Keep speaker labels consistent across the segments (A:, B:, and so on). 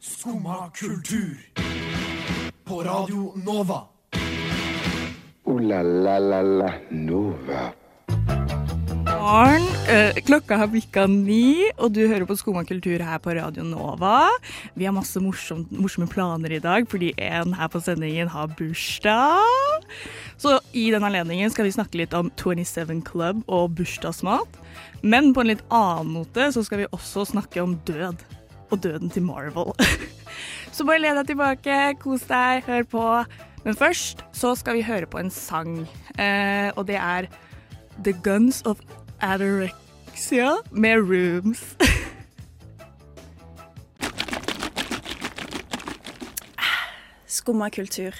A: Skumma kultur. På Radio Nova.
B: Ooh la la la la Nova.
C: morgen. Eh, Klokka har bikka ni, og du hører på Skumma kultur her på Radio Nova. Vi har masse morsomt, morsomme planer i dag, fordi en her på sendingen har bursdag. Så i den anledningen skal vi snakke litt om 27 Club og bursdagsmat. Men på en litt annen note så skal vi også snakke om død, og døden til Marvel. Så bare le deg tilbake, kos deg, hør på. Men først så skal vi høre på en sang, eh, og det er The Guns of Anorexia med Rooms.
D: Skumma kultur.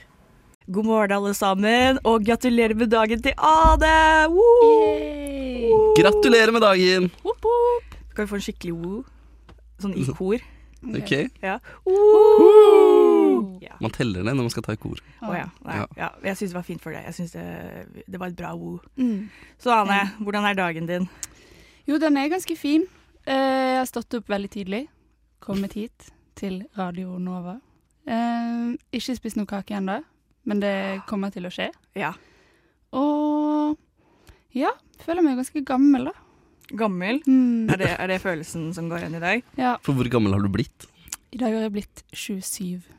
C: God morgen, alle sammen, og gratulerer med dagen til Ade! Woo! Woo!
E: Gratulerer med dagen!
C: Hopp, hopp. Skal vi få en skikkelig woo? Sånn i kor?
E: Ok,
C: Ja. Woo! Ja.
E: Man teller det når man skal ta i kor.
C: Å ja. Nei,
E: Ja.
C: ja. Jeg syns det var fint for deg. Jeg synes det, det var et bra woo.
E: Mm.
C: Så Ane, hvordan er dagen din?
F: Jo, den er ganske fin. Eh, jeg har stått opp veldig tidlig. Kommet hit til Radio Nova. Eh, ikke spist noe kake ennå, men det kommer til å skje.
C: Ja.
F: Og ja, føler meg ganske gammel, da.
C: Gammel?
F: Mm.
C: Er det, er det følelsen som går igjen i dag?
F: Ja.
E: For hvor gammel har du blitt?
F: I dag har jeg blitt 27.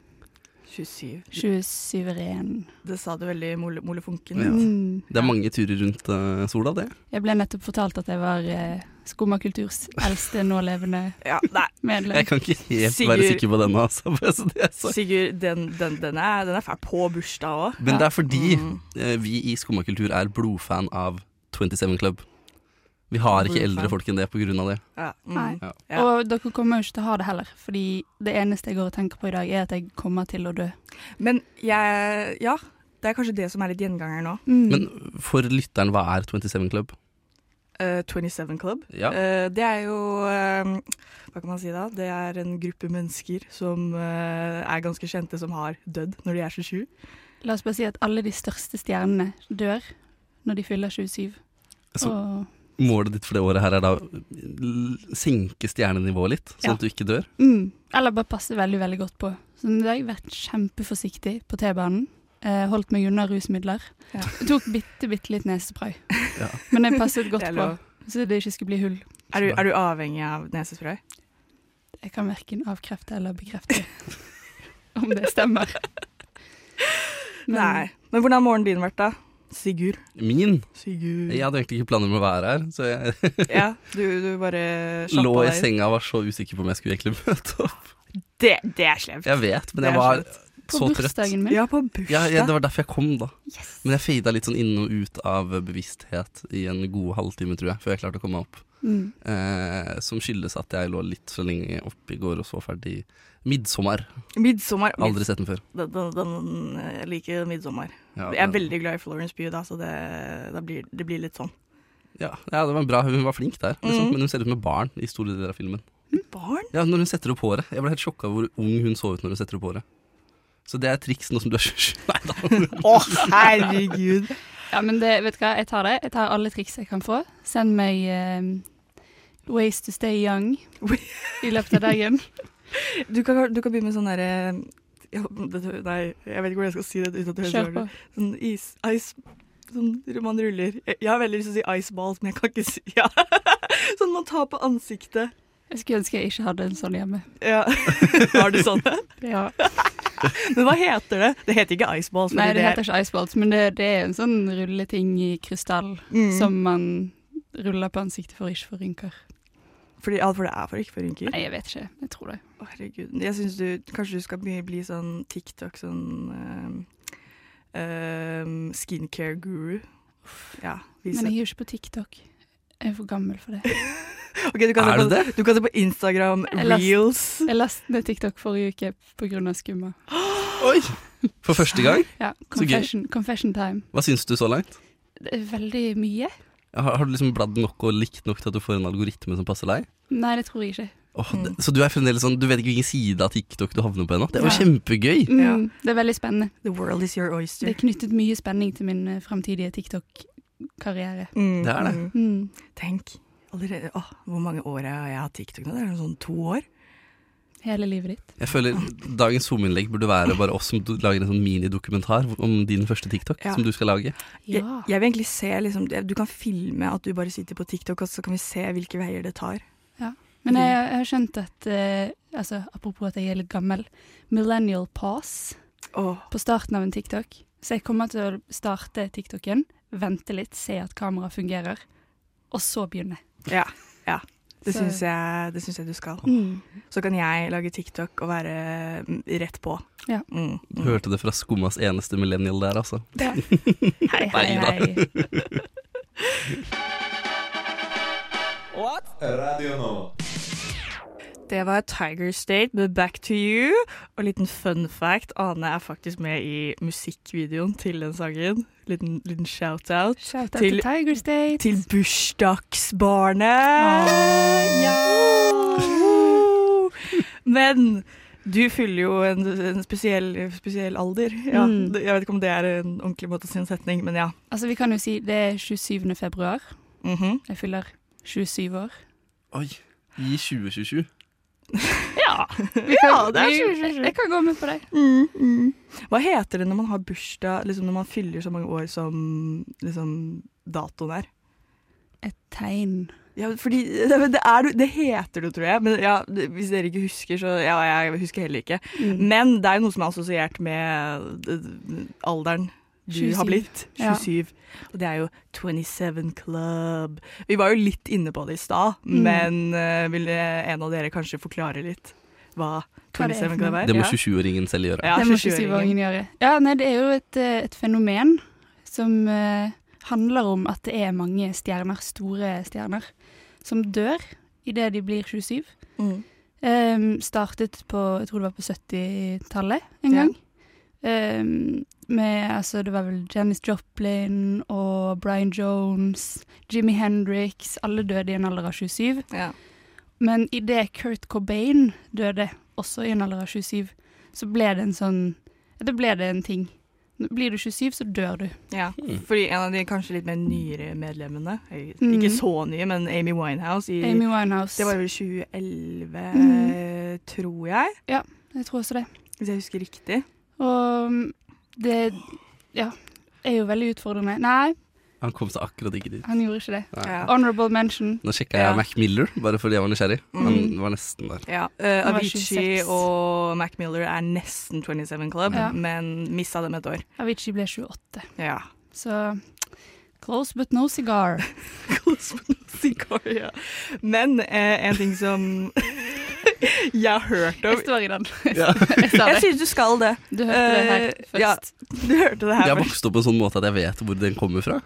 C: 27.
F: 27-eren.
C: Det sa du veldig mole- molefonken.
E: Ja.
F: Mm.
E: Det er mange turer rundt eh, sola, det.
F: Jeg ble nettopp fortalt at jeg var eh, Skumma kulturs eldste nålevende
C: Ja, nei.
F: medlem.
E: Jeg kan ikke helt
C: Sigurd.
E: være sikker på denne, altså. bare så det er sagt.
C: Sigurd, den, den, den er, den er fæl på bursdag òg.
E: Men det er fordi
C: Mm.
E: eh, vi i Skumma kultur er blodfan av 27 Club. Vi har ikke
C: Blodfan.
E: eldre folk enn det på grunn av det.
C: Ja.
F: Nei.
C: Mm.
E: Ja.
C: Ja.
F: Og dere kommer jo ikke til å ha det heller, fordi det eneste jeg går og tenker på i dag, er at jeg kommer til å dø.
C: Men jeg Ja, det er kanskje det som er litt gjenganger nå.
F: Mm.
E: Men for lytteren, hva er 27 Club?
C: Eh, 27 Club.
E: Ja.
C: Eh, det er jo eh, Hva kan man si da? Det er en gruppe mennesker som eh, er ganske kjente, som har dødd når de er 27.
F: La oss bare si at alle de største stjernene dør når de fyller 27.
E: Så-
F: Og,
E: Målet ditt for det året her er da l- senke stjernenivået litt, sånn
F: Ja.
E: at du ikke dør.
F: mm, eller bare passer veldig, veldig godt på. Så i dag har jeg vært kjempeforsiktig på T-banen. Eh, holdt meg unna rusmidler.
C: Ja.
F: Tok bitte, bitte litt nesespray.
E: Ja.
F: Men jeg passet godt
C: Det er
F: på,
C: lov.
F: så det ikke skulle bli hull.
C: Er du, er du avhengig av nesespray?
F: Jeg kan verken avkrefte eller bekrefte om det stemmer. Men-
C: Nei. Men hvordan har morgenen din vært, da? Sigurd.
E: Min?
C: Sigurd.
E: Jeg
C: Ja,
E: hadde egentlig ikke planer om å være her, så jeg
C: du, du bare
E: lå
C: slappa
E: i
C: deg.
E: senga og var så usikker på om jeg skulle egentlig møte opp.
C: Det, det er slemt.
E: Jeg vet, men
C: Det
E: jeg
C: er
E: var
F: På
E: så trøtt.
F: bursdagen min.
C: Ja, på bursdag.
E: Ja, ja, det var derfor jeg kom, da. Men jeg fada litt sånn inn og ut av bevissthet i en god halvtime, tror jeg, før jeg klarte å komme meg opp.
F: Mm.
E: Eh, som skyldes at jeg lå litt så lenge oppe i går og så ferdig 'Midtsommer'.
C: Midtsommer.
E: Aldri sett den før.
C: Den, den, den, jeg liker midtsommer.
E: Ja,
C: Jeg er
E: men-
C: veldig glad i Florence Pugh, da, så det, da blir, det blir litt sånn.
E: ja, ja, det var bra. Hun var flink der, liksom.
C: Mhm.
E: men hun ser ut som et barn i store deler av filmen.
C: Barn?
E: Ja, Når hun setter opp håret. Jeg ble helt sjokka hvor ung hun så ut når hun setter opp håret. Så det er triks nå som du er 27. Nei da.
C: Å, herregud.
F: Ja, men det, vet du hva, jeg tar det. Jeg tar alle triks jeg kan få. Send meg eh, Ways to stay young i løpet av dagen.
C: Du kan, du kan begynne med sånn derre ja, det- Nei, jeg vet ikke hvordan jeg skal si det uten at det høres
F: Kjør på.
C: dårlig ut. Sånn is... Ice, sånn man ruller Jeg jeg har veldig lyst til å si ice balls, men jeg kan ikke si ja. Sånn man tar på ansiktet.
F: Jeg skulle ønske jeg ikke hadde en sånn hjemme.
C: Ja. Har du sånne?
F: Ja.
C: Men hva heter det? Det heter ikke ice balls.
F: Nei,
C: fordi
F: det
C: er-
F: heter ikke iceballs, men det, det er en sånn rulleting i krystall
C: Mm.
F: som man ruller på ansiktet for å ikke få rynker.
C: Fordi, ja, for det er for ikke for rynker.
F: Nei, jeg vet ikke. Jeg tror det.
C: Å, herregud. Jeg syns du kanskje du skal bli, bli sånn TikTok, sånn ehm, ehm, skincare-guru. Ja, vise.
F: Men jeg er jo ikke på TikTok. Jeg er for gammel for det.
C: Ok, du kan, se
E: Er det
C: på, du kan se på Instagram
F: Jeg leste-
C: reels.
F: Jeg lastet ned TikTok forrige uke pga. skumma.
E: Oi! For første gang.
F: Ja,
E: Så gøy.
F: confession, confession time.
E: Hva syns du så langt?
F: Det er veldig mye.
E: Har, har du liksom bladd nok og likt nok til at du får en algoritme som passer deg?
F: Nei, det tror jeg ikke.
E: Åh,
C: Mm.
E: det, så du er fremdeles sånn, du vet ikke hvilken side av TikTok du havner på ennå? Det er jo
F: Ja.
E: kjempegøy!
F: Mm,
C: Ja.
F: Det er veldig spennende.
C: The world is your
F: Det
C: oyster.
F: er knyttet mye spenning til min eh, fremtidige TikTok-karriere.
C: Mm,
E: Det er
C: mm.
E: det.
F: Mm.
C: Tenk. Allerede, åh, hvor mange år har jeg hatt TikTok nå? Det er sånn to år.
F: hele livet ditt.
E: Jeg føler Dagens SoMe-innlegg burde være bare oss som do- lager en sånn minidokumentar om din første TikTok
C: Ja.
E: som du skal lage.
C: Jeg, jeg vil egentlig se liksom, det- Du kan filme at du bare sitter på TikTok, og så kan vi se hvilke veier det tar.
F: Men jeg, jeg har skjønt at eh, altså, Apropos at jeg er litt gammel. Millennial pause
C: Åh,
F: på starten av en TikTok. Så jeg kommer til å starte TikToken, vente litt, se at kameraet fungerer, og så begynne.
C: ja, ja. Det
F: Så-
C: syns jeg, det syns jeg du skal.
F: Mm.
C: Så kan jeg lage TikTok og være mm, rett på.
F: Ja.
C: Mm.
E: Du hørte det fra Skummas eneste millennial der, altså.
F: Ja. Hei, hei,
E: Neida.
F: hei.
C: Det var Tiger State med Back to You. Og liten fun fact, Ane er faktisk med i musikkvideoen til den sangen. Liten, liten shout-out.
F: Shout out
C: Til-
F: til Tiger State.
C: Til bursdagsbarnet! Ah,
F: Åh.
C: Ja! Men du fyller jo en, en spesiell, spesiell alder. Ja,
F: Mm.
C: det- Jeg vet ikke om det er en ordentlig måte å si en setning, men ja.
F: Altså, vi kan jo si det er 27. februar.
C: Mhm.
F: Jeg fyller 27 år.
E: Oi. I 2027.
C: Ja, det er
F: Vi-
C: 27.
F: Jeg kan gå med på det.
C: Mm, mm. Hva heter det når man har bursdag, liksom når man fyller så mange år som liksom, datoen er?
F: Et tegn.
C: Ja, fordi det, men det, er, du- det heter du, tror jeg. Men ja, det, hvis dere ikke husker, så ja, jeg husker heller ikke.
F: Mm.
C: Men det er jo noe som er assosiert med eh, alderen du
F: 27.
C: har blitt.
F: Ja.
C: 27. Og det er jo 27 Club. Vi var jo litt inne på det i stad,
F: Mm.
C: men eh, vil en av dere kanskje forklare litt hva
F: Hva det er
C: 27
F: for
C: Club
F: noe?
C: er?
E: Det må
C: Ja.
E: 27-åringen selv gjøre.
C: Ja,
F: det må
C: 27-åringen.
F: 27-åringen gjøre. Ja, nei, det er jo et, eh, et fenomen som eh, handler om at det er mange stjerner, store stjerner, som dør idet de blir 27.
C: Mm.
F: Ehm, startet på, jeg tror det var på 70-tallet en
C: Ja.
F: gang. Ehm, med, altså, det var vel Janis Joplin og Brian Jones, Jimmy Hendrix, alle døde i en alder av 27.
C: Ja.
F: Men idet Kurt Cobain døde, også i en alder av 27, så ble det en sånn Da ble det en ting. Blir du 27, så dør du.
C: Ja,
E: Hmm,
C: fordi en av de kanskje litt mer nyere medlemmene, eh,
F: Mm.
C: ikke så nye, men Amy Winehouse i
F: Amy Winehouse.
C: Mm. Det var vel 2011,
F: Mm.
C: eh, tror jeg,
F: Jeg tror også det.
C: hvis jeg husker riktig.
F: Og um, det Ja. Er jo veldig utfordrende. Nei,
E: Han kom seg akkurat ikke dit.
F: han gjorde ikke det.
E: Nei.
C: Ja.
F: Honorable mention.
E: Nå sjekka jeg
C: Ja.
E: Mac Miller, bare fordi jeg var nysgjerrig. Han
C: Mm.
E: var nesten der.
C: Ja, eh,
F: Han var
C: Avicii
F: 26.
C: og Mac Miller er nesten 27 Club,
F: Ja.
C: men mista dem et år.
F: Avicii ble 28.
C: Ja.
F: Så close but no cigar.
C: Sigar, ja. Men eh, en ting som jeg har hørt
F: Jeg
C: om
F: står i den.
E: Ja.
F: Jeg sa
C: Jeg
F: det.
C: syns du skal det.
F: Du hørte det her
C: Eh, ja.
F: først.
C: Du hørte det
E: Jeg
C: her
E: har
C: først.
E: vokst opp på en sånn måte at jeg vet hvor den kommer fra.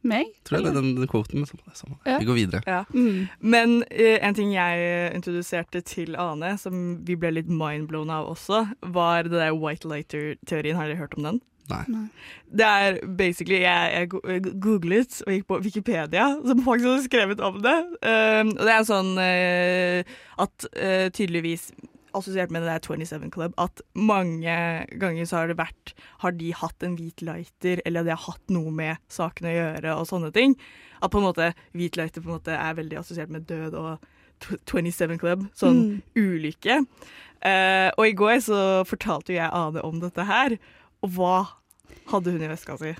F: Meg?
E: Tror jeg det er den, den quoten. men samme det, samme det.
F: Ja.
E: Vi går videre.
C: Ja.
F: Mm.
C: Men eh, en ting jeg eh, introduserte til Ane, som vi ble litt mindblown av også, var det der white lighter-teorien. Har dere hørt om den?
E: Nei.
F: Nei.
C: Det er basically Jeg, jeg go- eh, googlet og gikk på Wikipedia, som faktisk hadde skrevet om det. Um, og det er en sånn eh, at eh, tydeligvis assosiert med det der 27 Club, at mange ganger så har det vært Har de hatt en hvit lighter, eller det har hatt noe med saken å gjøre, og sånne ting. At på en måte hvit lighter på en måte er veldig assosiert med død og tw- 27 Club. Sånn
F: Mm.
C: ulykke. Eh, og i går så fortalte jo jeg Ane om dette her, og hva hadde hun i veska si?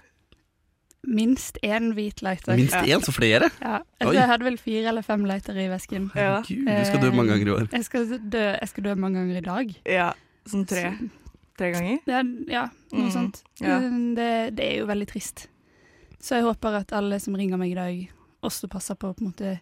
F: Minst én hvit lighter.
E: Minst
C: Ja.
E: én, så flere!
F: Ja. Jeg, tror
E: Oi.
F: jeg hadde vel fire eller fem lighter i vesken.
C: Ja.
E: Herregud, du skal dø mange ganger i år.
F: Jeg skal dø, jeg skal dø mange ganger i dag.
C: Ja, sånn tre,
F: Så-
C: tre ganger?
F: Det er, ja, noe
C: Mm,
F: sånt.
C: ja.
F: Mm, Det, det er jo veldig trist. Så jeg håper at alle som ringer meg i dag, også passer på å på en måte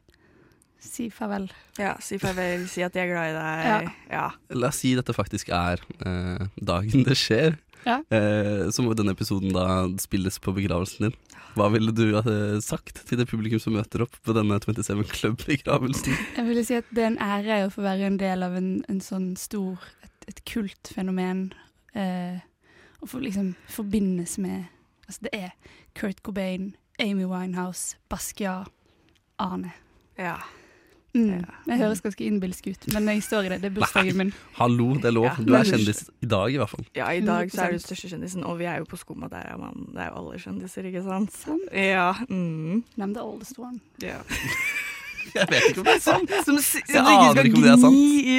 F: si farvel.
C: Ja, si farvel, si at jeg er glad i deg. Ja.
E: La oss si dette faktisk er eh, dagen det skjer.
F: Ja.
E: Eh, så må denne episoden da spilles på begravelsen din. Hva ville du eh, sagt til det publikum som møter opp på denne 27 Club-begravelsen?
F: Jeg ville si at det er en ære å få være en del av en, en sånn stor, et, et kult fenomen. Eh, og få liksom forbindes med Altså det er Kurt Cobain, Amy Winehouse, Basquiat, Arne.
C: ja.
F: Mm. Jeg høres ganske innbilsk ut, men jeg står i det. Det er bursdagen min.
E: Hallo, det er lov.
C: Ja.
E: Du er kjendis i dag, i hvert fall.
C: Ja, i dag så er du
F: 100%.
C: største kjendisen, og vi er jo på skumma der, er man. Det er jo alle kjendiser, ikke sant?
F: Sant.
C: Ja. Mm.
F: I'm the oldest one.
C: ja.
E: Jeg vet ikke om det er sant.
C: Som, s- som
E: Jeg
C: du ikke
E: aner
C: skal
E: ikke om det er sant.
C: gni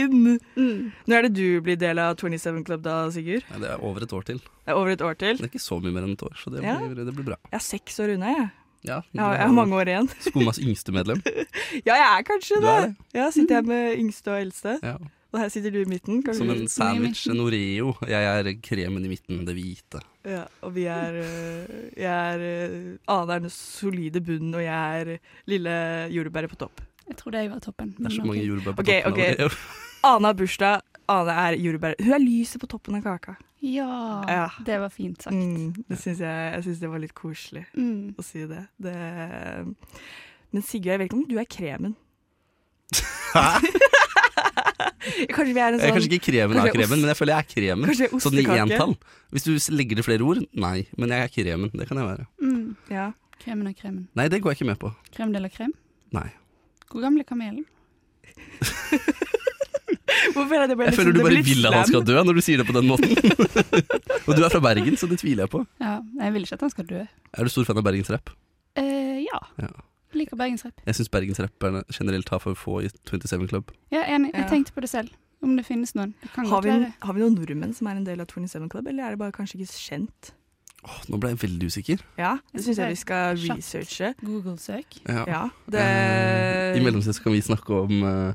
C: inn. Når er det du blir del av 27 Club da, Sigurd?
E: Nei, det er over et år til.
C: Det er over et år til.
E: Det er ikke så mye mer enn et år, så det
C: Ja.
E: blir, det blir bra.
C: Jeg er seks år unna, jeg.
E: Ja,
C: Jeg har, jeg har mange år igjen.
E: Skomas yngste medlem.
C: Ja, jeg er kanskje
E: Du
C: det.
E: er det.
C: Ja, sitter jeg med yngste og eldste,
E: Ja.
C: og her sitter du i midten. kanskje?
E: Som en sandwich, en Oreo. Jeg er kremen i midten, det hvite.
C: Ja, og vi er øh, Jeg er øh, Ane er den solide bunnen, og jeg er lille jordbæret på topp.
F: Jeg trodde jeg var toppen.
E: Det
F: men
E: er så
F: ok.
E: mange jordbær på
C: Mm, Ok,
E: toppen
C: ok.
E: av Oreo.
C: Ane har bursdag, Ane er jordbæret Hun er lyset på toppen av kaka.
F: Ja,
C: Ja.
F: det var fint sagt.
C: Mm, det synes jeg, jeg syns det var litt koselig
F: Mm.
C: å si det. det eh, men Sigurd, jeg vet ikke om du er kremen. kanskje vi er en
E: Jeg er
C: sånn
E: kanskje ikke kremen
C: Kanskje
E: av kremen,
C: ost-
E: men jeg føler jeg er kremen.
C: Kanskje ostekake?
E: Sånn i entall. Hvis du s- legger til flere ord, nei. Men jeg er kremen. Det kan jeg være.
F: Mm.
C: Ja.
F: Kremen av kremen.
E: Nei, det går jeg ikke med på.
F: Krem de la krem.
E: Nei.
F: Hvor gammel er kamelen?
C: Hvorfor er det bare
E: Jeg
C: litt sånn-
E: føler du
C: det blir
E: bare
C: litt
E: vil at han skal
C: slam?
E: dø når du sier det på den måten. Og du er fra Bergen, så det tviler jeg på.
F: Ja, Jeg vil ikke at han skal dø.
E: Er du stor fan av bergensrapp?
F: Eh, ja.
E: Ja.
F: Jeg liker bergensrapp.
E: Jeg syns bergensrapperne generelt har for få i 27 Club.
F: Ja, enig. Jeg
C: Ja.
F: tenkte på det selv. Om det finnes noen. Det kan
C: Har
F: godt
C: vi,
F: være.
C: har vi noen nordmenn som er en del av 27 Club, eller er det bare kanskje ikke kjent?
E: Åh, nå ble jeg veldig usikker.
C: Ja, det
F: Jeg
C: syns
F: synes
C: jeg vi skal
F: det er kjapt.
C: researche.
F: Google-søk.
C: Ja, det
E: Eh, I mellomtiden så kan vi snakke om eh,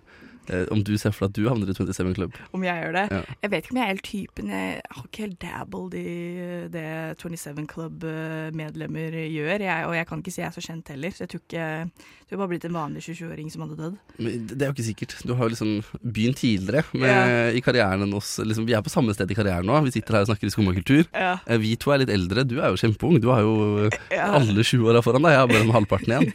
E: eh, om du ser for deg at du havner i 27 Club.
C: Om jeg gjør det.
E: Ja.
C: Jeg vet ikke om jeg er helt typen. Jeg har ikke helt dabbled i eh, det 27 Club-medlemmer gjør. Jeg, og jeg kan ikke si jeg er så kjent heller, så jeg tror ikke Du har bare blitt en vanlig 27-åring som hadde dødd.
E: Men det er jo ikke sikkert. Du har jo liksom begynt tidligere med, i karrieren enn oss. Liksom, vi er på samme sted i karrieren nå. Vi sitter her og snakker i skummakultur.
C: Ja.
E: Eh, Vi to er litt eldre. Du er jo kjempeung. Du har jo eh,
C: Ja.
E: alle 20-åra foran deg. Jeg har bare den halvparten igjen.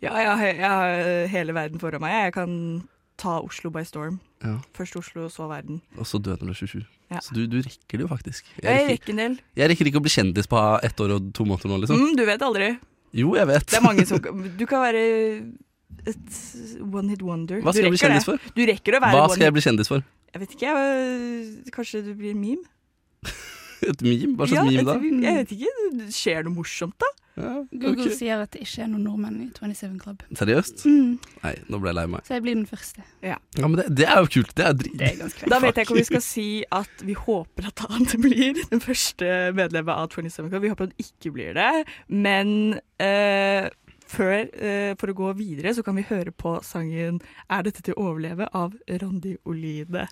C: Ja, jeg, har- jeg har hele verden foran meg. Jeg kan ta Oslo by storm.
E: Ja.
C: Først Oslo, så verden.
E: Og så døde når du er 27.
C: Ja.
E: Så du, du rekker det jo faktisk. Jeg
C: Jeg
E: rekker,
C: rekker en del.
E: jeg rekker ikke å bli kjendis på ett år og to måneder nå, liksom.
C: Mm, du vet aldri.
E: Jo, jeg vet.
C: Det er mange som Du kan være et one hit wonder.
E: Hva
C: du
E: skal jeg bli
C: rekker
E: kjendis
C: det.
E: for?
C: Du rekker å være
E: Hva
C: one
E: skal
C: hit
E: jeg bli kjendis for?
C: Jeg vet ikke, jeg, kanskje du blir en meme?
E: Et meme? Hva slags meme da?
C: et- Jeg vet ikke, skjer noe morsomt da?
E: Ja,
F: Google
E: ok.
F: sier at det ikke er noen nordmenn i 27 Club.
E: Seriøst?
F: Mm.
E: Nei, nå ble jeg lei meg.
F: Så jeg blir den første.
E: Ja, men det, det er jo kult. Det er dri...
F: Det er ganske
C: Da vet jeg ikke om vi skal si at vi håper at han blir den første medlemmet av 27 Club. Vi håper han ikke blir det, men eh, før, eh, for å gå videre, så kan vi høre på sangen «Er dette til å overleve?» av Randi Oline.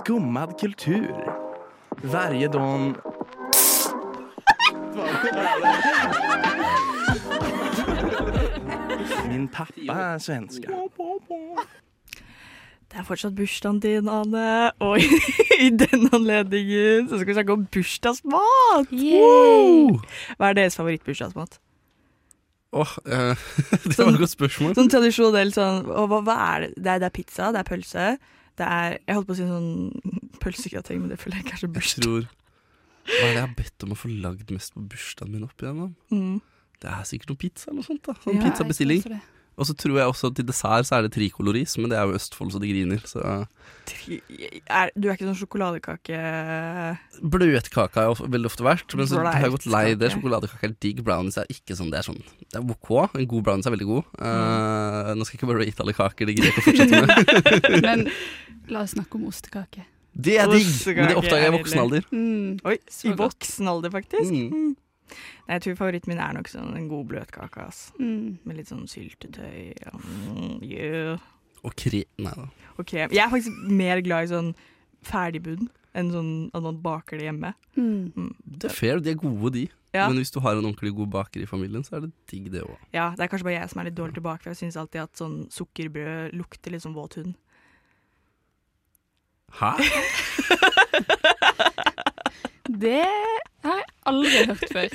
G: Skummad kultur. Varje dag... Min pappa är svenska.
C: Det er fortsatt bursdagen din, Ane, og i den anledningen så skal vi snakke om bursdagsmat!
F: Yay!
C: Hva er deres favorittbursdagsmat?
E: Åh, eh, det var et godt spørsmål.
C: Sånn tradisjonell sånn og hva, hva er det? Det er, det er pizza, det er pølse. Det er Jeg holdt på å si sånn pølsekrateng, men det føler jeg kanskje er
E: Jeg
C: bursdag.
E: tror Hva er det jeg har bedt om å få lagd mest på bursdagen min opp igjennom?
C: Mm.
E: Det er sikkert noe pizza eller noe sånt. da Sånn
C: Ja,
E: Pizzabestilling. Og så tror jeg også at til dessert så er det trikoloris, men det er jo Østfold, så det griner. Så
C: Tri- Er, du er ikke sånn sjokoladekake...
E: Bløtkaka har jeg of- veldig ofte vært, men så har jeg gått lei det.
C: Bløtkake.
E: Sjokoladekake er digg, brownies er ikke sånn. Det er sånn Det er ok. En god brownies er veldig god.
C: Mm.
E: Eh, nå skal jeg ikke bare rate alle kaker, det greier jeg ikke å fortsette med.
F: Men la oss snakke om ostekake.
E: Det er digg, men det
C: Ostekake
E: oppdager jeg i
C: er
E: voksen alder.
F: Mm.
C: Oi, i
F: godt.
C: voksen alder, faktisk.
E: Mm.
C: Mm. Nei, jeg tror favoritten min er nok sånn en god bløtkake, ass.
F: Mm.
C: Med litt sånn syltetøy. Ja. Mm, yeah.
E: Og kre... Nei da.
C: og krem. Jeg er faktisk mer glad i sånn ferdigbunn enn sånn at man baker det hjemme.
F: Mm.
E: Det er fair, de er gode, de.
C: Ja.
E: Men hvis du har en ordentlig god baker i familien, så er det digg, det òg.
C: Ja, Det er kanskje bare jeg som er litt dårlig tilbake, for jeg syns alltid at sånn sukkerbrød lukter litt sånn våt hund.
E: Hæ?
F: Det har jeg aldri hørt før.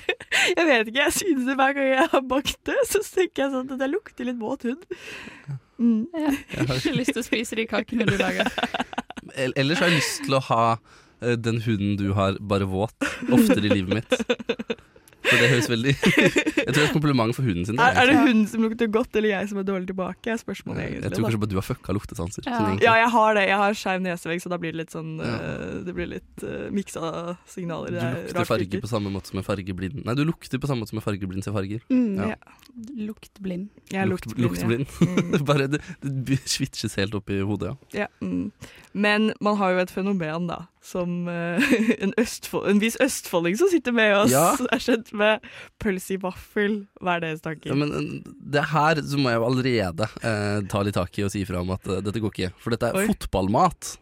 C: Jeg vet ikke, jeg synes det hver gang jeg har bakt det, så tenker jeg sånn at det lukter litt våt hund. Mm.
F: Jeg har ikke lyst til å spise de kakene du lager.
E: El- Ellers har jeg lyst til å ha eh, den hunden du har, bare våt, oftere i livet mitt. For det høres veldig Jeg tror det er et kompliment for hunden sin.
C: Er, er det hun som lukter godt, eller jeg som er dårlig tilbake? er spørsmålet
E: Jeg
C: egentlig.
E: tror
C: da.
E: kanskje bare du har fucka luktesanser.
F: Ja.
E: sånn egentlig.
C: Ja, jeg har det. Jeg har skeiv nesevegg, så da blir det litt sånn
E: Ja.
C: eh, Det blir litt uh, miksa signaler.
E: Du
C: Det er
E: lukter
C: rart
E: farge
C: ute.
E: på samme måte som en fargeblind Nei, du lukter på samme måte som en fargeblind ser farger.
F: Mm,
E: Ja.
F: ja. Luktblind.
C: Jeg er
E: Lukt-
C: luktblind, ja.
E: Lukteblind. Bare det, det switches helt opp i hodet, ja.
C: Ja, mm. Men man har jo et fenomen, da, som eh, en, Østfold, en viss østfolding som sitter med oss,
E: Ja.
C: er kjent med pølse i vaffel. Hva er deres tanker?
E: ja men eh, det her så må jeg jo allerede eh, ta litt tak i og si ifra om at eh, dette går ikke. For dette er
C: Oi.
E: fotballmat.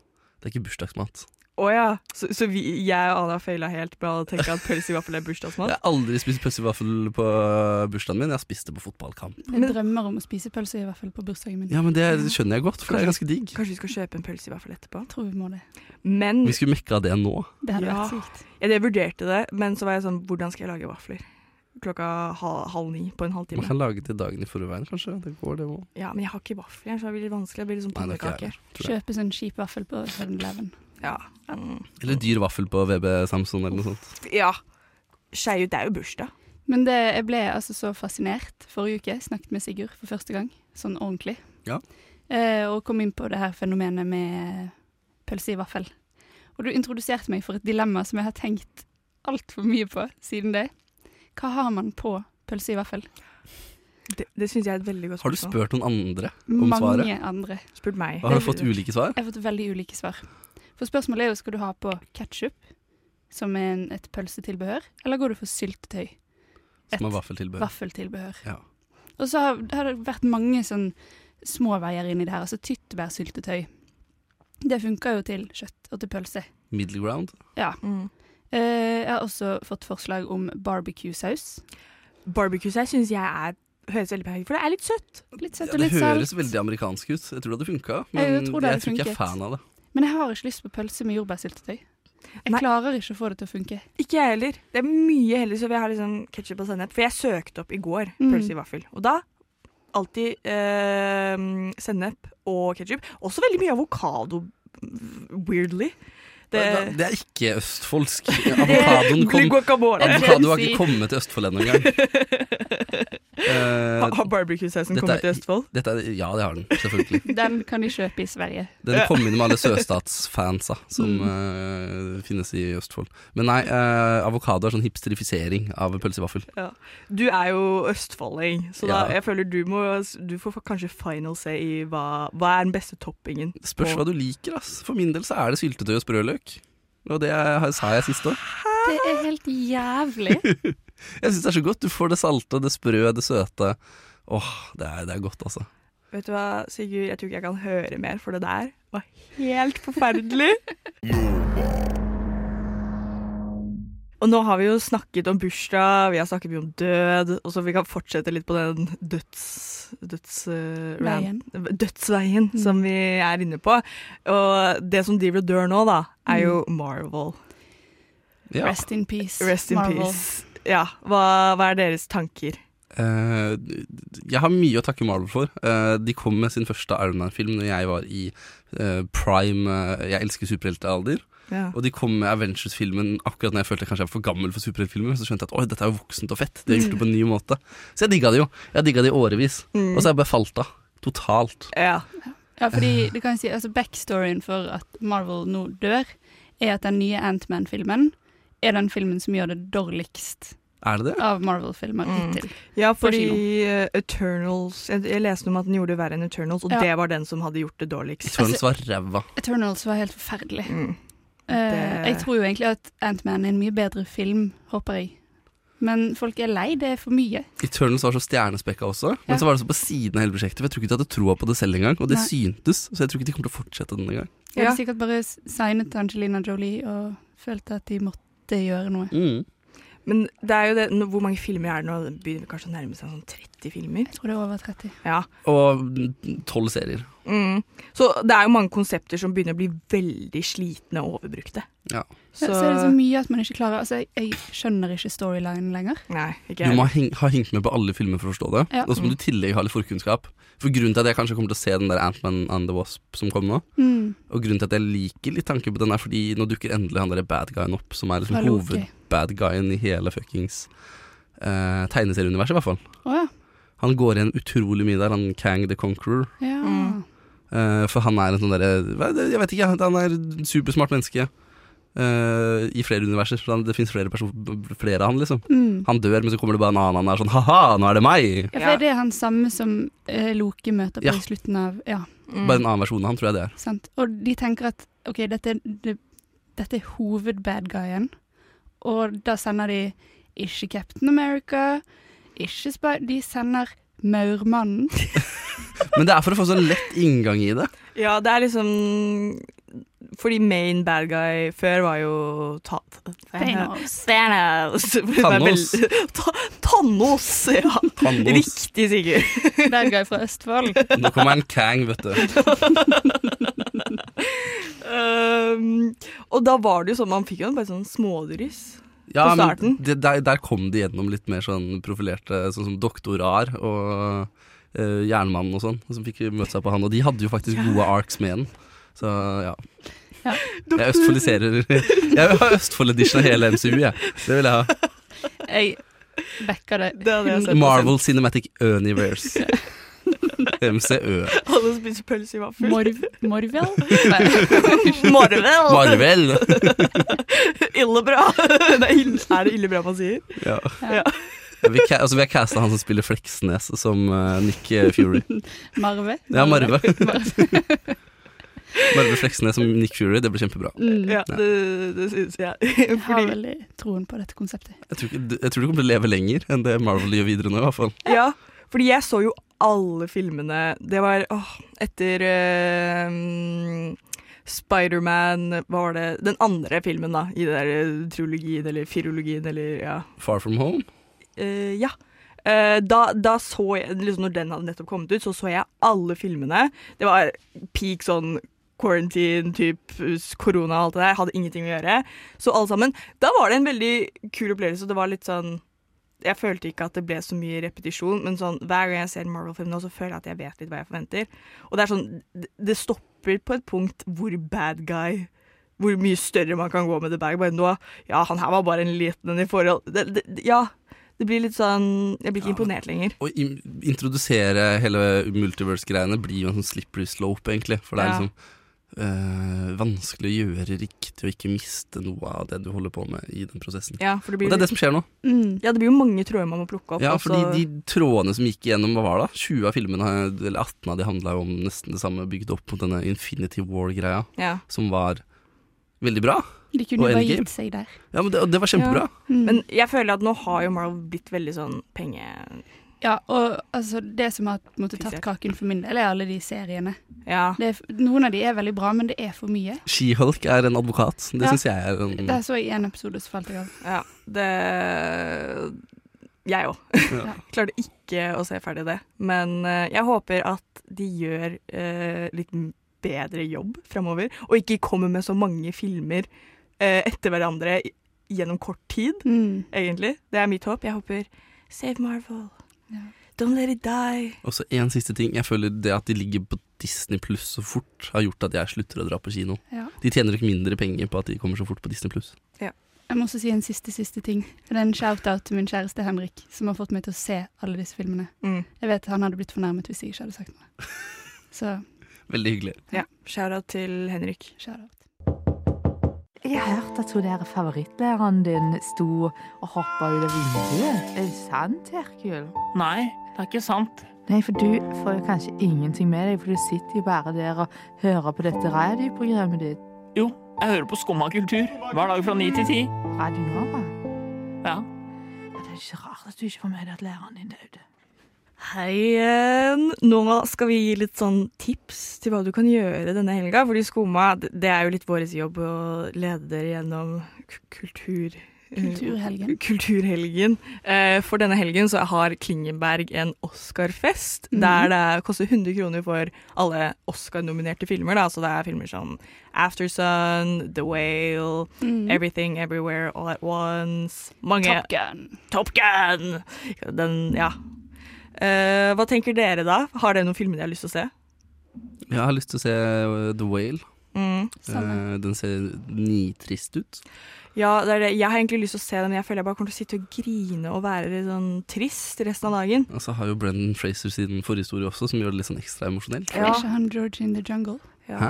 E: Det er ikke bursdagsmat.
C: Å ja, så, så vi, jeg og Anna faila helt med å tenke at pølse i vaffel er bursdagsmat?
E: Jeg har aldri spist pølse i vaffel på øh, bursdagen min, jeg har spist det på fotballkamp.
F: Jeg drømmer om å spise pølse, i hvert fall på bursdagen min.
E: Ja, men det skjønner jeg godt, for det er ganske digg.
C: Kanskje vi skal kjøpe en pølse i vaffel etterpå?
F: Jeg tror vi må det.
C: Men
E: Vi skulle mekka det nå.
F: Det hadde
C: Ja.
F: vært sykt.
C: ja, Jeg vurderte det, men så var jeg sånn Hvordan skal jeg lage vafler? Klokka halv, halv ni på en
E: Man
C: halvtime.
E: kan lage til dagen i forveien, kanskje. Det går, det òg.
C: Ja, men jeg har ikke vafler, så det blir litt vanskelig. Det blir litt sånn
E: Nei, det er ikke jeg
C: pannekake.
E: Tror
F: Kjøpe sånn kjip vaffel på 7-Eleven.
C: Ja. Mm.
E: Eller dyr vaffel på VB Samson eller noe sånt.
C: ja. Skei ut, det er jo bursdag.
F: Men det, jeg ble altså så fascinert forrige uke. Snakket med Sigurd for første gang, sånn ordentlig.
E: Ja.
F: Eh, og kom inn på det her fenomenet med pølse i vaffel. Og du introduserte meg for et dilemma som jeg har tenkt altfor mye på siden det. Hva har man på pølse i vaffel?
C: Det, det syns jeg er et veldig godt
E: Har du
C: spørsmål.
E: spurt noen andre om
F: Mange
E: svaret?
F: andre.
C: Spurt, meg.
E: Og har du fått ulike svar?
F: Jeg har fått veldig ulike svar. For spørsmålet er jo skal du ha på ketsjup, som er en, et pølsetilbehør, eller går du for syltetøy?
E: Som har
F: Et
E: vaffeltilbehør.
F: vaffeltilbehør.
E: Ja.
F: Og så har, har det vært mange sånn små veier inn i det her. Altså tyttebærsyltetøy. Det funker jo til kjøtt og til pølse.
E: Middle ground.
C: Mm.
F: Eh, jeg har også fått forslag om barbecue-saus.
C: Barbecue-saus syns jeg er, høres veldig perfekt ut, for det er litt søtt.
F: Litt
E: Ja,
F: søtt og
E: det
F: litt salt.
E: høres veldig amerikansk ut. Jeg tror det hadde funka, men
F: Jeg
E: jeg
F: tror
E: tror,
F: det hadde
E: ikke jeg er
F: funket.
E: fan av det.
F: Men jeg har ikke lyst på pølse med jordbærsyltetøy. Jeg
C: Nei.
F: klarer ikke å få det til å funke.
C: Ikke jeg heller. Det er mye heller så vil jeg ha liksom ketsjup og sennep. For jeg søkte opp i går
F: Mm.
C: pølse i vaffel, og da alltid eh, sennep og ketsjup. Også veldig mye avokado, weirdly.
E: Det,
C: Det,
E: det er ikke østfoldsk. Avokadoen kom
C: Guacamole.
E: Avokado har
F: Fancy.
E: ikke kommet til Østfold ennå engang. Eh,
C: Har barbecue-sausen
E: Dette er-
C: kommet til Østfold?
E: dette er, ja, det har den, selvfølgelig.
F: Den kan de kjøpe i Sverige.
E: Den kom inn med alle sørstatsfansa som eh, finnes i Østfold. Men nei, eh, avokado er sånn hipsterifisering av pølse i vaffel.
C: Du er jo østfolding, så da,
E: Ja.
C: jeg føler du må Du får kanskje final say i hva, hva er den beste toppingen.
E: Spørs hva du liker, ass. For min del så er det syltetøy og sprøløk. Og det er- sa jeg sist år.
F: Det er helt jævlig.
E: Jeg syns det er så godt. Du får det salte, det sprø, det søte. Åh, det er, det er godt, altså.
C: Vet du hva, Sigurd, jeg tror ikke jeg kan høre mer, for det der var helt forferdelig. Og nå har vi jo snakket om bursdag, vi har snakket mye om død, og så vi kan fortsette litt på den døds... døds eh,
F: Veien. Mm.
C: rant- dødsveien som vi er inne på. Og det som driver og dør nå, da, er jo
F: Mm.
C: Marvel.
E: Ja.
F: Rest in peace.
C: Rest in
F: Marvel.
C: peace. Ja, hva, hva er deres tanker?
E: Eh, jeg har mye å takke Marvel for. Eh, de kom med sin første Iron Man-film Når jeg var i eh, prime eh, Jeg elsker superheltealder.
C: Ja.
E: Og de kom med Avengers-filmen akkurat når jeg følte jeg kanskje er for gammel for superheltfilmer. Så skjønte jeg at oi, dette er jo voksent og fett. De har gjort det på en ny måte. Så jeg digga det jo. Jeg digga det i årevis.
F: Mm.
E: Og så har jeg bare falt av. Totalt.
C: ja.
F: Ja, fordi du kan si, altså Backstoryen for at Marvel nå dør, er at den nye Ant-Man-filmen er den filmen som gjør det dårligst
E: Er det det?
F: av Marvel-filmer hittil.
C: Ja,
F: på
C: fordi eh, Eternals jeg, jeg leste om at den gjorde det verre enn Eternals, og
F: Ja.
C: det var den som hadde gjort det dårligst.
F: Altså-
E: Eternals var ræva.
F: Eternals var helt forferdelig.
C: Mm.
F: Eh, jeg tror jo egentlig at Ant-Man er en mye bedre film, håper jeg. Men folk er lei, det er for mye.
E: Eternals var så stjernespekka også,
F: Ja.
E: men så var det så på siden av hele prosjektet. For jeg tror ikke de hadde troa på det selv engang, og det
F: Nei.
E: syntes. Så jeg tror ikke de kommer til å fortsette denne gang.
F: De hadde
C: Ja.
F: sikkert bare s- signet Angelina Jolie og følte at de måtte gjøre noe.
E: Mm.
C: Men det er jo det, nå- hvor mange filmer er det nå? Det begynner kanskje å nærme seg sånn 30 filmer?
F: Jeg tror det er over 30.
C: Ja.
E: Og tolv serier.
C: Mm. Så det er jo mange konsepter som begynner å bli veldig slitne og overbrukte.
E: Ja.
F: Så, så er liksom- det så mye at man ikke klarer Altså, jeg, jeg skjønner ikke storylinen lenger.
C: Nei, ikke
E: Du
C: jeg.
E: må ha heng- ha hengt med på alle filmer for å forstå det.
F: Ja.
E: Og så må du i tillegg ha litt forkunnskap. For grunnen til at jeg kanskje kommer til å se den der Ant-Man and the Wasp som kom nå,
F: Mm,
E: Og grunnen til at jeg liker litt tanken på den, er fordi nå dukker endelig han der bad guyen opp, som er
F: fra
E: liksom
F: Loki.
E: hovedbad guyen i hele fuckings eh, tegneserieuniverset, i hvert fall.
F: Å ja.
E: Han går igjen utrolig mye der, han Kang the Conqueror.
F: ja.
C: Mm.
E: Eh, for han er en sånn derre Jeg vet ikke, han er supersmart menneske. eh, I flere universer. For han, det fins flere, perso- flere av han, liksom.
F: Mm.
E: Han dør, men så kommer det bare en annen. Han er sånn ha-ha, nå er det meg!
F: Ja, for er det han samme som eh, Loke møter på
E: Ja.
F: i slutten av Ja,
C: Mm.
E: Bare en annen versjon av han, tror jeg det er.
F: sant. Og de tenker at OK, dette, er- det, dette er hovedbadguyen, og da sender de ikke Captain America, ikke Spy... De sender Maurmannen.
E: Men det er for å få sånn lett inngang i det.
C: Ja, det er liksom Fordi main bad guy før var jo ta
F: Thanos.
C: Thanos.
E: Thanos.
C: Ta- Thanos, ja.
E: Thanos.
C: Riktig, Sigurd.
F: Bad guy fra Østfold.
E: Nå kommer en Kang, vet du.
C: Um, og da var det jo sånn, man fikk jo en bare sånn smådryss.
E: Ja,
C: På
E: men
C: starten.
E: det, der, der kom de gjennom litt mer sånn profilerte, sånn som Doktor Rar og eh, Jernmannen og sånn, som fikk møte seg på han. Og de hadde jo faktisk gode arcs med den. Så ja.
F: Ja.
E: Jeg østfoldiserer Jeg vil ha Østfold-edition av hele MCU, jeg. Det vil jeg ha.
F: Jeg backer det.
C: Det hadde jeg sett.
E: Marvel Cinematic Universe. MCØ.
C: Alle spiser pølse i vaffel.
F: Morv, Morvel? Nei.
C: Marvel!
E: Marvel!
C: Illebra! Det er, ille, er det illebra man sier?
E: Ja.
F: Ja.
E: Vi, ca- altså, vi har casta han som spiller Fleksnes som eh, Nick Fury.
F: Marve?
E: Ja, Marve.
F: Marve.
E: Marve Fleksnes som Nick Fury, det blir kjempebra.
F: Mm.
C: Ja, det, det syns jeg.
F: Jeg har
C: Fordi,
F: veldig troen på dette konseptet.
E: Jeg tror, ikke, jeg tror du kommer til å leve lenger enn det Marvel gjør videre nå, i hvert fall.
C: ja, fordi jeg så jo alle filmene. Det var åh, etter eh, mm, Spiderman Hva var det? Den andre filmen, da. I det der eh, trilogien eller firologien eller ja.
E: Far From Home.
C: Eh, ja. Eh, da, da så jeg, liksom Når den hadde nettopp kommet ut, så så jeg alle filmene. Det var peak sånn quarantine, typ s- korona og alt det der. Hadde ingenting å gjøre. Så alle sammen. Da var det en veldig kul opplevelse. og Det var litt sånn Jeg følte ikke at det ble så mye repetisjon, men sånn, hver gang jeg ser en Marvel-film nå, så føler jeg at jeg vet litt hva jeg forventer. Og det er sånn Det, det stopper på et punkt hvor bad guy Hvor mye større man kan gå med the bag. Bare nå Ja, han her var bare en liten en i forhold det, det, Ja. Det blir litt sånn Jeg blir ikke
E: Ja, men-
C: imponert lenger.
E: Å im- introdusere hele multiverse-greiene blir jo en sånn slippery slope, egentlig. For det er
C: Ja.
E: liksom eh, vanskelig å gjøre riktig og ikke miste noe av det du holder på med i den prosessen.
C: Ja, for det
E: Og
C: blir,
E: det er det som skjer nå.
F: Mm.
C: ja, det blir jo mange tråder man må plukke opp. altså,
E: Ja,
C: og så-
E: fordi de trådene som gikk igjennom, hva var det? da? 20 av filmene, eller 18 av de handla jo om nesten det samme, bygd opp mot denne Infinity War-greia,
C: ja.
E: som var veldig bra.
F: De kunne
E: Og
F: jo bare
E: Endgame.
F: gitt seg der.
E: Ja, men det, og det var kjempebra.
F: Mm.
C: Men jeg føler at nå har jo Marvel blitt veldig sånn penge...
F: ja, og altså, det som har på en måte, tatt
C: Fiksert.
F: kaken for min del, er alle de seriene.
C: Ja.
F: Det er, f- noen av de er veldig bra, men det er for mye.
E: She-Hulk er en advokat. Det
F: Ja.
E: syns jeg er en
F: Der så jeg en episode, så falt jeg av.
C: ja. Det Jeg òg.
E: Ja.
C: Klarte ikke å se ferdig det. Men eh, jeg håper at de gjør eh, litt m- bedre jobb framover, og ikke kommer med så mange filmer eh, etter hverandre i- gjennom kort tid.
F: Mm.
C: egentlig. Det er mitt håp. Jeg håper Save Marvel.
F: Ja.
C: Don't let it die.
E: Og så en siste ting. Jeg føler det at de ligger på Disney Pluss så fort, har gjort at jeg slutter å dra på kino.
F: Ja.
E: De tjener ikke mindre penger på at de kommer så fort på Disney Pluss.
F: Jeg må også si en siste, siste ting. Det er en shout-out til min kjæreste Henrik, som har fått meg til å se alle disse filmene.
C: Mm.
F: Jeg vet han hadde blitt fornærmet hvis jeg ikke hadde sagt noe. Så
E: Veldig hyggelig.
C: Ja. Shout-out til Henrik.
F: shout-out.
H: Jeg har hørt at hun der favorittlæreren din sto og hoppa ut av vinduet. Er det sant, Herkul?
I: Nei, det er ikke sant.
H: Nei, for du får jo kanskje ingenting med deg, for du sitter jo bare der og hører på dette radioprogrammet ditt.
I: Jo, jeg hører på Skumma kultur hver dag fra ni til ti.
H: Radio Nova.
I: Ja.
H: Det er ikke rart at du ikke får med deg at læreren din døde.
C: Hei igjen. Nå skal vi gi litt sånn tips til hva du kan gjøre denne helga. Fordi Skoma, det det er jo litt vår jobb å lede dere gjennom k- kultur... eh,
F: Kulturhelgen.
C: Kulturhelgen. Eh, For denne helgen så har Klingenberg en Oscarfest,
F: Mhm.
C: der det koster 100 kroner for alle Oscar-nominerte filmer. Da. Så det er filmer som Aftersun, The Whale, Everything Everywhere All At Once. Mange
F: Mhm. Mm. Top Gun.
C: Top Gun! Den, ja. Eh, hva tenker dere da? Har dere noen filmer dere har lyst til å se?
E: Jeg har lyst til å se uh, The Whale.
C: Mm.
F: Samme.
E: Eh, den ser nitrist ut.
C: Ja, det er det. Jeg har egentlig lyst til å se den. Jeg føler jeg bare kommer til å sitte og grine og være litt sånn trist resten av dagen.
E: Og så har jo Brendan Fraser sin forhistorie også, som gjør det litt sånn ekstra emosjonelt.
F: Er ikke han George in the Jungle?
C: Ja.
E: Hæ?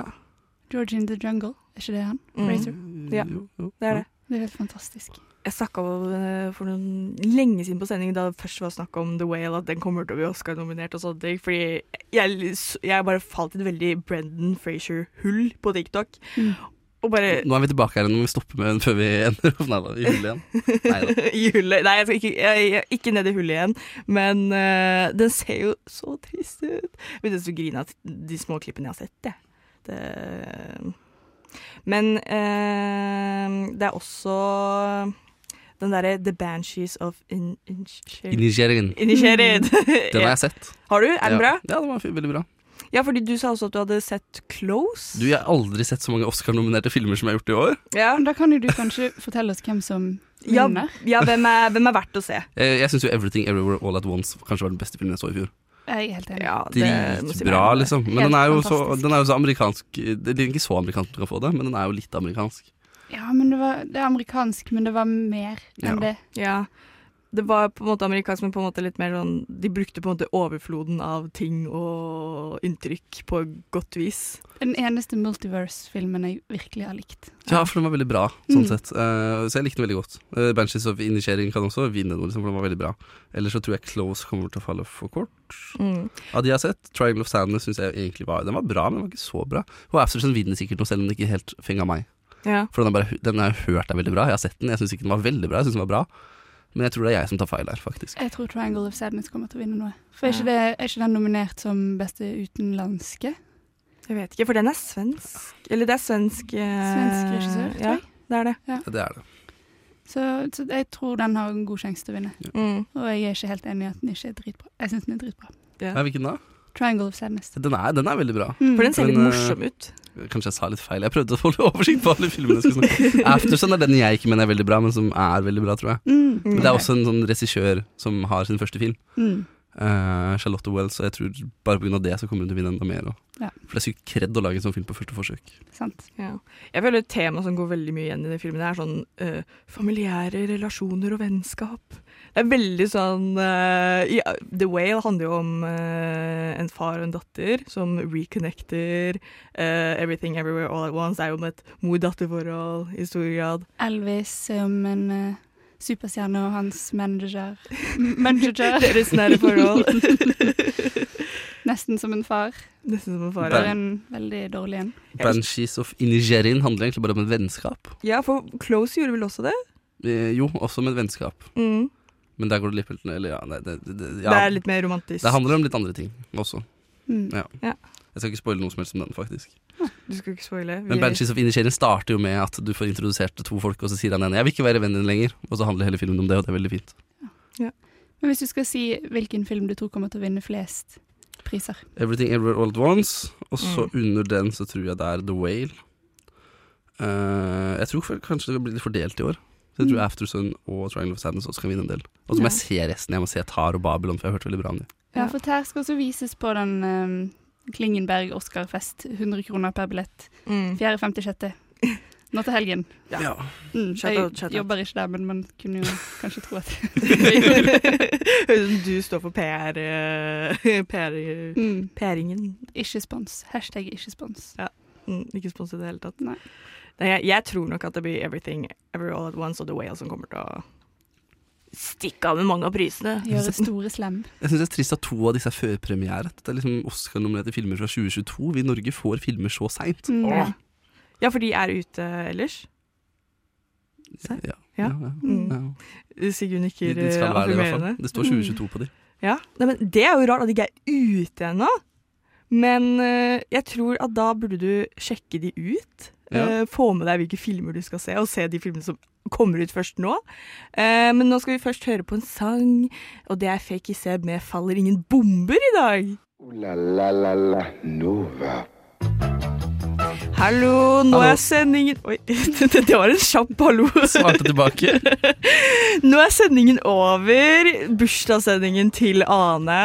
F: George in the Jungle, er ikke det han?
C: Mm.
F: Razor.
C: Ja,
E: Jo, jo.
C: Det er det.
F: Det er helt fantastisk.
C: Jeg snakka om eh, for noen lenge siden på sending, da det først var snakk om The Whale, at den kommer til å bli Oscar-nominert og sånne ting. Fordi jeg, jeg bare falt i et veldig Brendan Frazier-hull på TikTok.
F: Mm.
C: Og bare
E: Nå er vi tilbake her, nå må vi stoppe med før vi ender opp Nei da, i hullet igjen. Neida.
C: i hullet. Nei, jeg skal ikke, jeg, jeg, ikke ned i hullet igjen. Men eh, den ser jo så trist ut. Jeg begynte nesten å grine av de små klippene jeg har sett. Jeg. Det. Men eh, det er også den derre The Banshees of In... in,
E: Initieringen.
C: Initiated.
E: Den har jeg sett.
C: Har du? Er den bra?
E: Ja, ja den var fi- veldig bra.
C: Ja, fordi du sa også at du hadde sett Close.
E: Du, jeg har aldri sett så mange Oscar-nominerte filmer som jeg har gjort i år.
C: ja.
F: Men da kan jo du kanskje fortelle oss hvem som
C: Ja,
F: vinner.
C: ja hvem, er, hvem er verdt å se?
E: Eh, Jeg syns jo 'Everything Everywhere All At Once' kanskje var den beste filmen jeg så i fjor.
F: Jeg er helt enig.
C: Ja, det må jeg si meg
E: Dritbra,
C: enig i.
E: liksom. Men
F: Helt
E: den er, jo så,
F: fantastisk.
E: den er jo så amerikansk Det er ikke så amerikansk du kan få det, men den er jo litt amerikansk.
F: Ja, men det, var, det er amerikansk, men det var mer enn
E: Ja.
F: det.
C: Ja. Det var på en måte amerikansk, men på en måte litt mer sånn De brukte på en måte overfloden av ting og inntrykk på godt vis.
F: Den eneste multiverse-filmen jeg virkelig har likt.
E: Ja, for den var veldig bra, sånn
F: Mm.
E: sett. Eh, så jeg likte den veldig godt. Uh, Banshees of Initiering kan også vinne noe, liksom, for den var veldig bra. Ellers så tror jeg Close kommer til å falle for kort.
C: Mm.
E: Av de jeg har sett, Triangle of Sadness syns jeg egentlig var Den var bra, men den var ikke så bra. Og Aftersun vinner sikkert noe, selv om den ikke helt fenga meg.
C: Ja.
E: For den, er bare, den har jeg hørt er veldig bra. Jeg har sett den. Jeg syns ikke den var veldig bra, jeg syns den var bra. Men jeg tror det er jeg som tar feil her, faktisk.
F: Jeg tror Triangle of Sadness kommer til å vinne noe. For er ikke, det, er ikke den nominert som beste utenlandske?
C: Jeg vet ikke, for den er svensk. Eller det er svensk eh,
F: Svensk regissør, tror
C: Ja,
F: jeg.
C: det er det.
E: Ja, det er det.
F: Så, så jeg tror den har en god sjanse til å vinne.
C: Mm.
F: Og jeg er ikke helt enig i at den ikke er dritbra. Jeg syns den er dritbra.
E: Ja, hvilken da?
F: Triangle of Sadness.
E: Den er, den er veldig bra.
F: Mm.
C: For den ser litt
E: Men, eh,
C: morsom ut.
E: Kanskje jeg sa litt feil. Jeg prøvde å holde oversikt på alle filmene. jeg skulle snakke om. Aftersun er den jeg ikke mener er veldig bra, men som er veldig bra, tror jeg.
F: Mm.
E: Men det er også en sånn regissør som har sin første film,
F: Mm.
E: eh, Charlotte Wells, og jeg tror bare pga. det så kommer hun til å vinne enda mer. Og.
F: Ja.
E: For det er sykt kred å lage en sånn film på første forsøk.
F: Sant.
C: Ja. Jeg føler et tema som går veldig mye igjen i den filmen, er sånn eh, familiære relasjoner og vennskap. Det er veldig sånn eh, ja, The Whale handler jo om eh, en far og en datter som reconnecter. eh, everything Everywhere All At Once Det er jo om et mor-datter-forhold i stor grad.
F: Elvis som en eh, superstjerne og hans manager M- Manager.
C: Deres nære forhold.
F: Nesten som en far.
C: Nesten som en far.
F: Bare
C: og-
E: Bam.
F: en veldig dårlig en.
C: Jeg-
E: Banshees of Inigerin handler egentlig bare om et vennskap.
C: Ja, for Close gjorde vel også det?
E: Eh, jo, også om et vennskap,
C: Mm.
E: men der går det litt vel- Eller ja, nei, det, det, det, ja.
C: Det er litt mer romantisk.
E: det handler om litt andre ting også.
F: Mm.
E: Ja.
C: Ja.
E: Jeg skal ikke spoile noe som helst om den, faktisk.
C: Du skal ikke spoile. Vi-
E: Men Banshees of Inisherin starter jo med at du får introdusert to folk, og så sier han ene 'jeg vil ikke være vennen din lenger', og så handler hele filmen om det, og det er veldig fint.
F: Men hvis du skal si hvilken film du tror kommer til å vinne flest priser
E: 'Everything Everywhere All At Once', og så
C: Mm.
E: under den så tror jeg det er 'The Whale'. Eh, jeg tror for- kanskje det blir litt fordelt i år. Så jeg tror
F: Mm.
E: Aftersun og Triangle of Sadness også kan vinne en del. Og så
F: Ja.
E: må jeg se resten. Jeg må se Tar og Babylon, for jeg har hørt veldig bra om dem.
F: Ja,
C: Ja.
F: for Tær skal også vises på den eh, Klingenberg Oscarfest. 100 kroner per billett.
C: Mm.
F: 4., 5., 6. Nå til helgen.
C: Ja.
F: Mm,
C: Shout out, shout
F: jeg
C: out.
F: jobber ikke der, men man kunne jo kanskje tro at
C: Høres ut som du står for PR... eh, PR
F: mm,
C: PR-ingen.
F: Ikke spons. Hashtag ikke spons.
C: Mm, ikke sponset i det hele tatt.
F: Nei.
C: Nei, jeg, jeg tror nok at det blir Everything, Every All At Once og The Whale som kommer til å stikke av med mange av prisene.
F: Gjøre store slem.
E: Jeg syns det er trist at to av disse er førpremiere. at Det er liksom Oscar-nominerte filmer fra 2022. Vi i Norge får filmer så seint.
F: Mm.
C: Ja. ja, for de er ute ellers.
E: Ja.
C: Sent?
E: Ja.
C: Ja.
E: Ja.
C: Mm.
E: Ja.
C: Sigrun
E: De,
C: nikker
E: de skal
C: eh,
E: være det, i hvert
C: affirmerende.
E: fall. Det står 2022 på de.
C: Ja, Nei, men Det er jo rart at de ikke er ute ennå. Men eh, jeg tror at da burde du sjekke de ut.
E: Ja.
C: Eh, få med deg hvilke filmer du skal se, og se de filmene som kommer ut først nå. Eh, men nå skal vi først høre på en sang, og det er Fake Iseb med 'Faller ingen bomber' i dag.
B: Ooh la la la la Nova.
C: Hallo, nå
E: Hallo.
C: er sendingen Oi, det var en kjapp hallo.
E: Svarte tilbake.
C: Nå er sendingen over. Bursdagssendingen til Ane.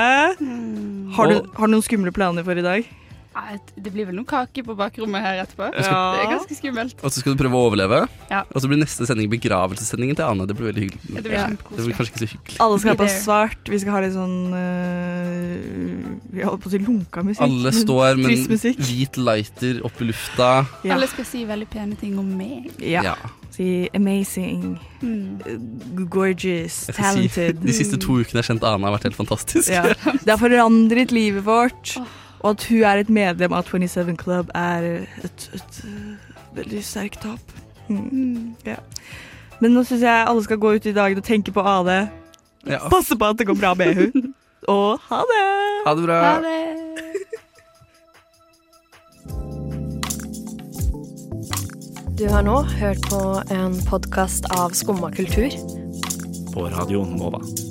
C: Har du,
E: Og-
C: har du noen skumle planer for i dag?
F: Ja, Ah, et- Det blir vel noe kake på bakrommet her etterpå.
C: Ja.
F: Det er ganske skummelt.
E: Og så skal du prøve å overleve.
F: Ja.
E: Og så blir neste sending begravelsessendingen til Anne. Det blir veldig hyggelig.
F: Det
E: Det
F: blir
C: Ja.
E: blir
F: kjempekoselig.
E: kanskje ikke så hyggelig.
C: Alle skal ha på
F: Idéer.
C: svart. Vi skal ha litt sånn øh, Vi holder på å si lunka musikk.
E: Alle står med
C: Trist musikk.
E: en hvit lighter opp i lufta.
C: Ja.
F: Alle skal si veldig pene ting om meg.
C: Ja.
E: Ja.
C: Si amazing,
F: Mm.
C: gorgeous,
E: Jeg skal si,
C: talented.
E: de siste to ukene jeg har kjent Ane, har vært helt fantastisk.
C: Ja. Det har forandret livet vårt. Og at hun er et medlem av 27 Club, er et, et øh, veldig sterkt tap. Mm.
F: Mm.
C: Men nå syns jeg alle skal gå ut i dagen og tenke på Ane.
E: Ja.
C: Passe på at det går bra med hun. Og ha det!
E: Ha det bra.
F: Ha det.
J: Du har nå hørt på en podkast av Skumma kultur.
G: På Radio Nova.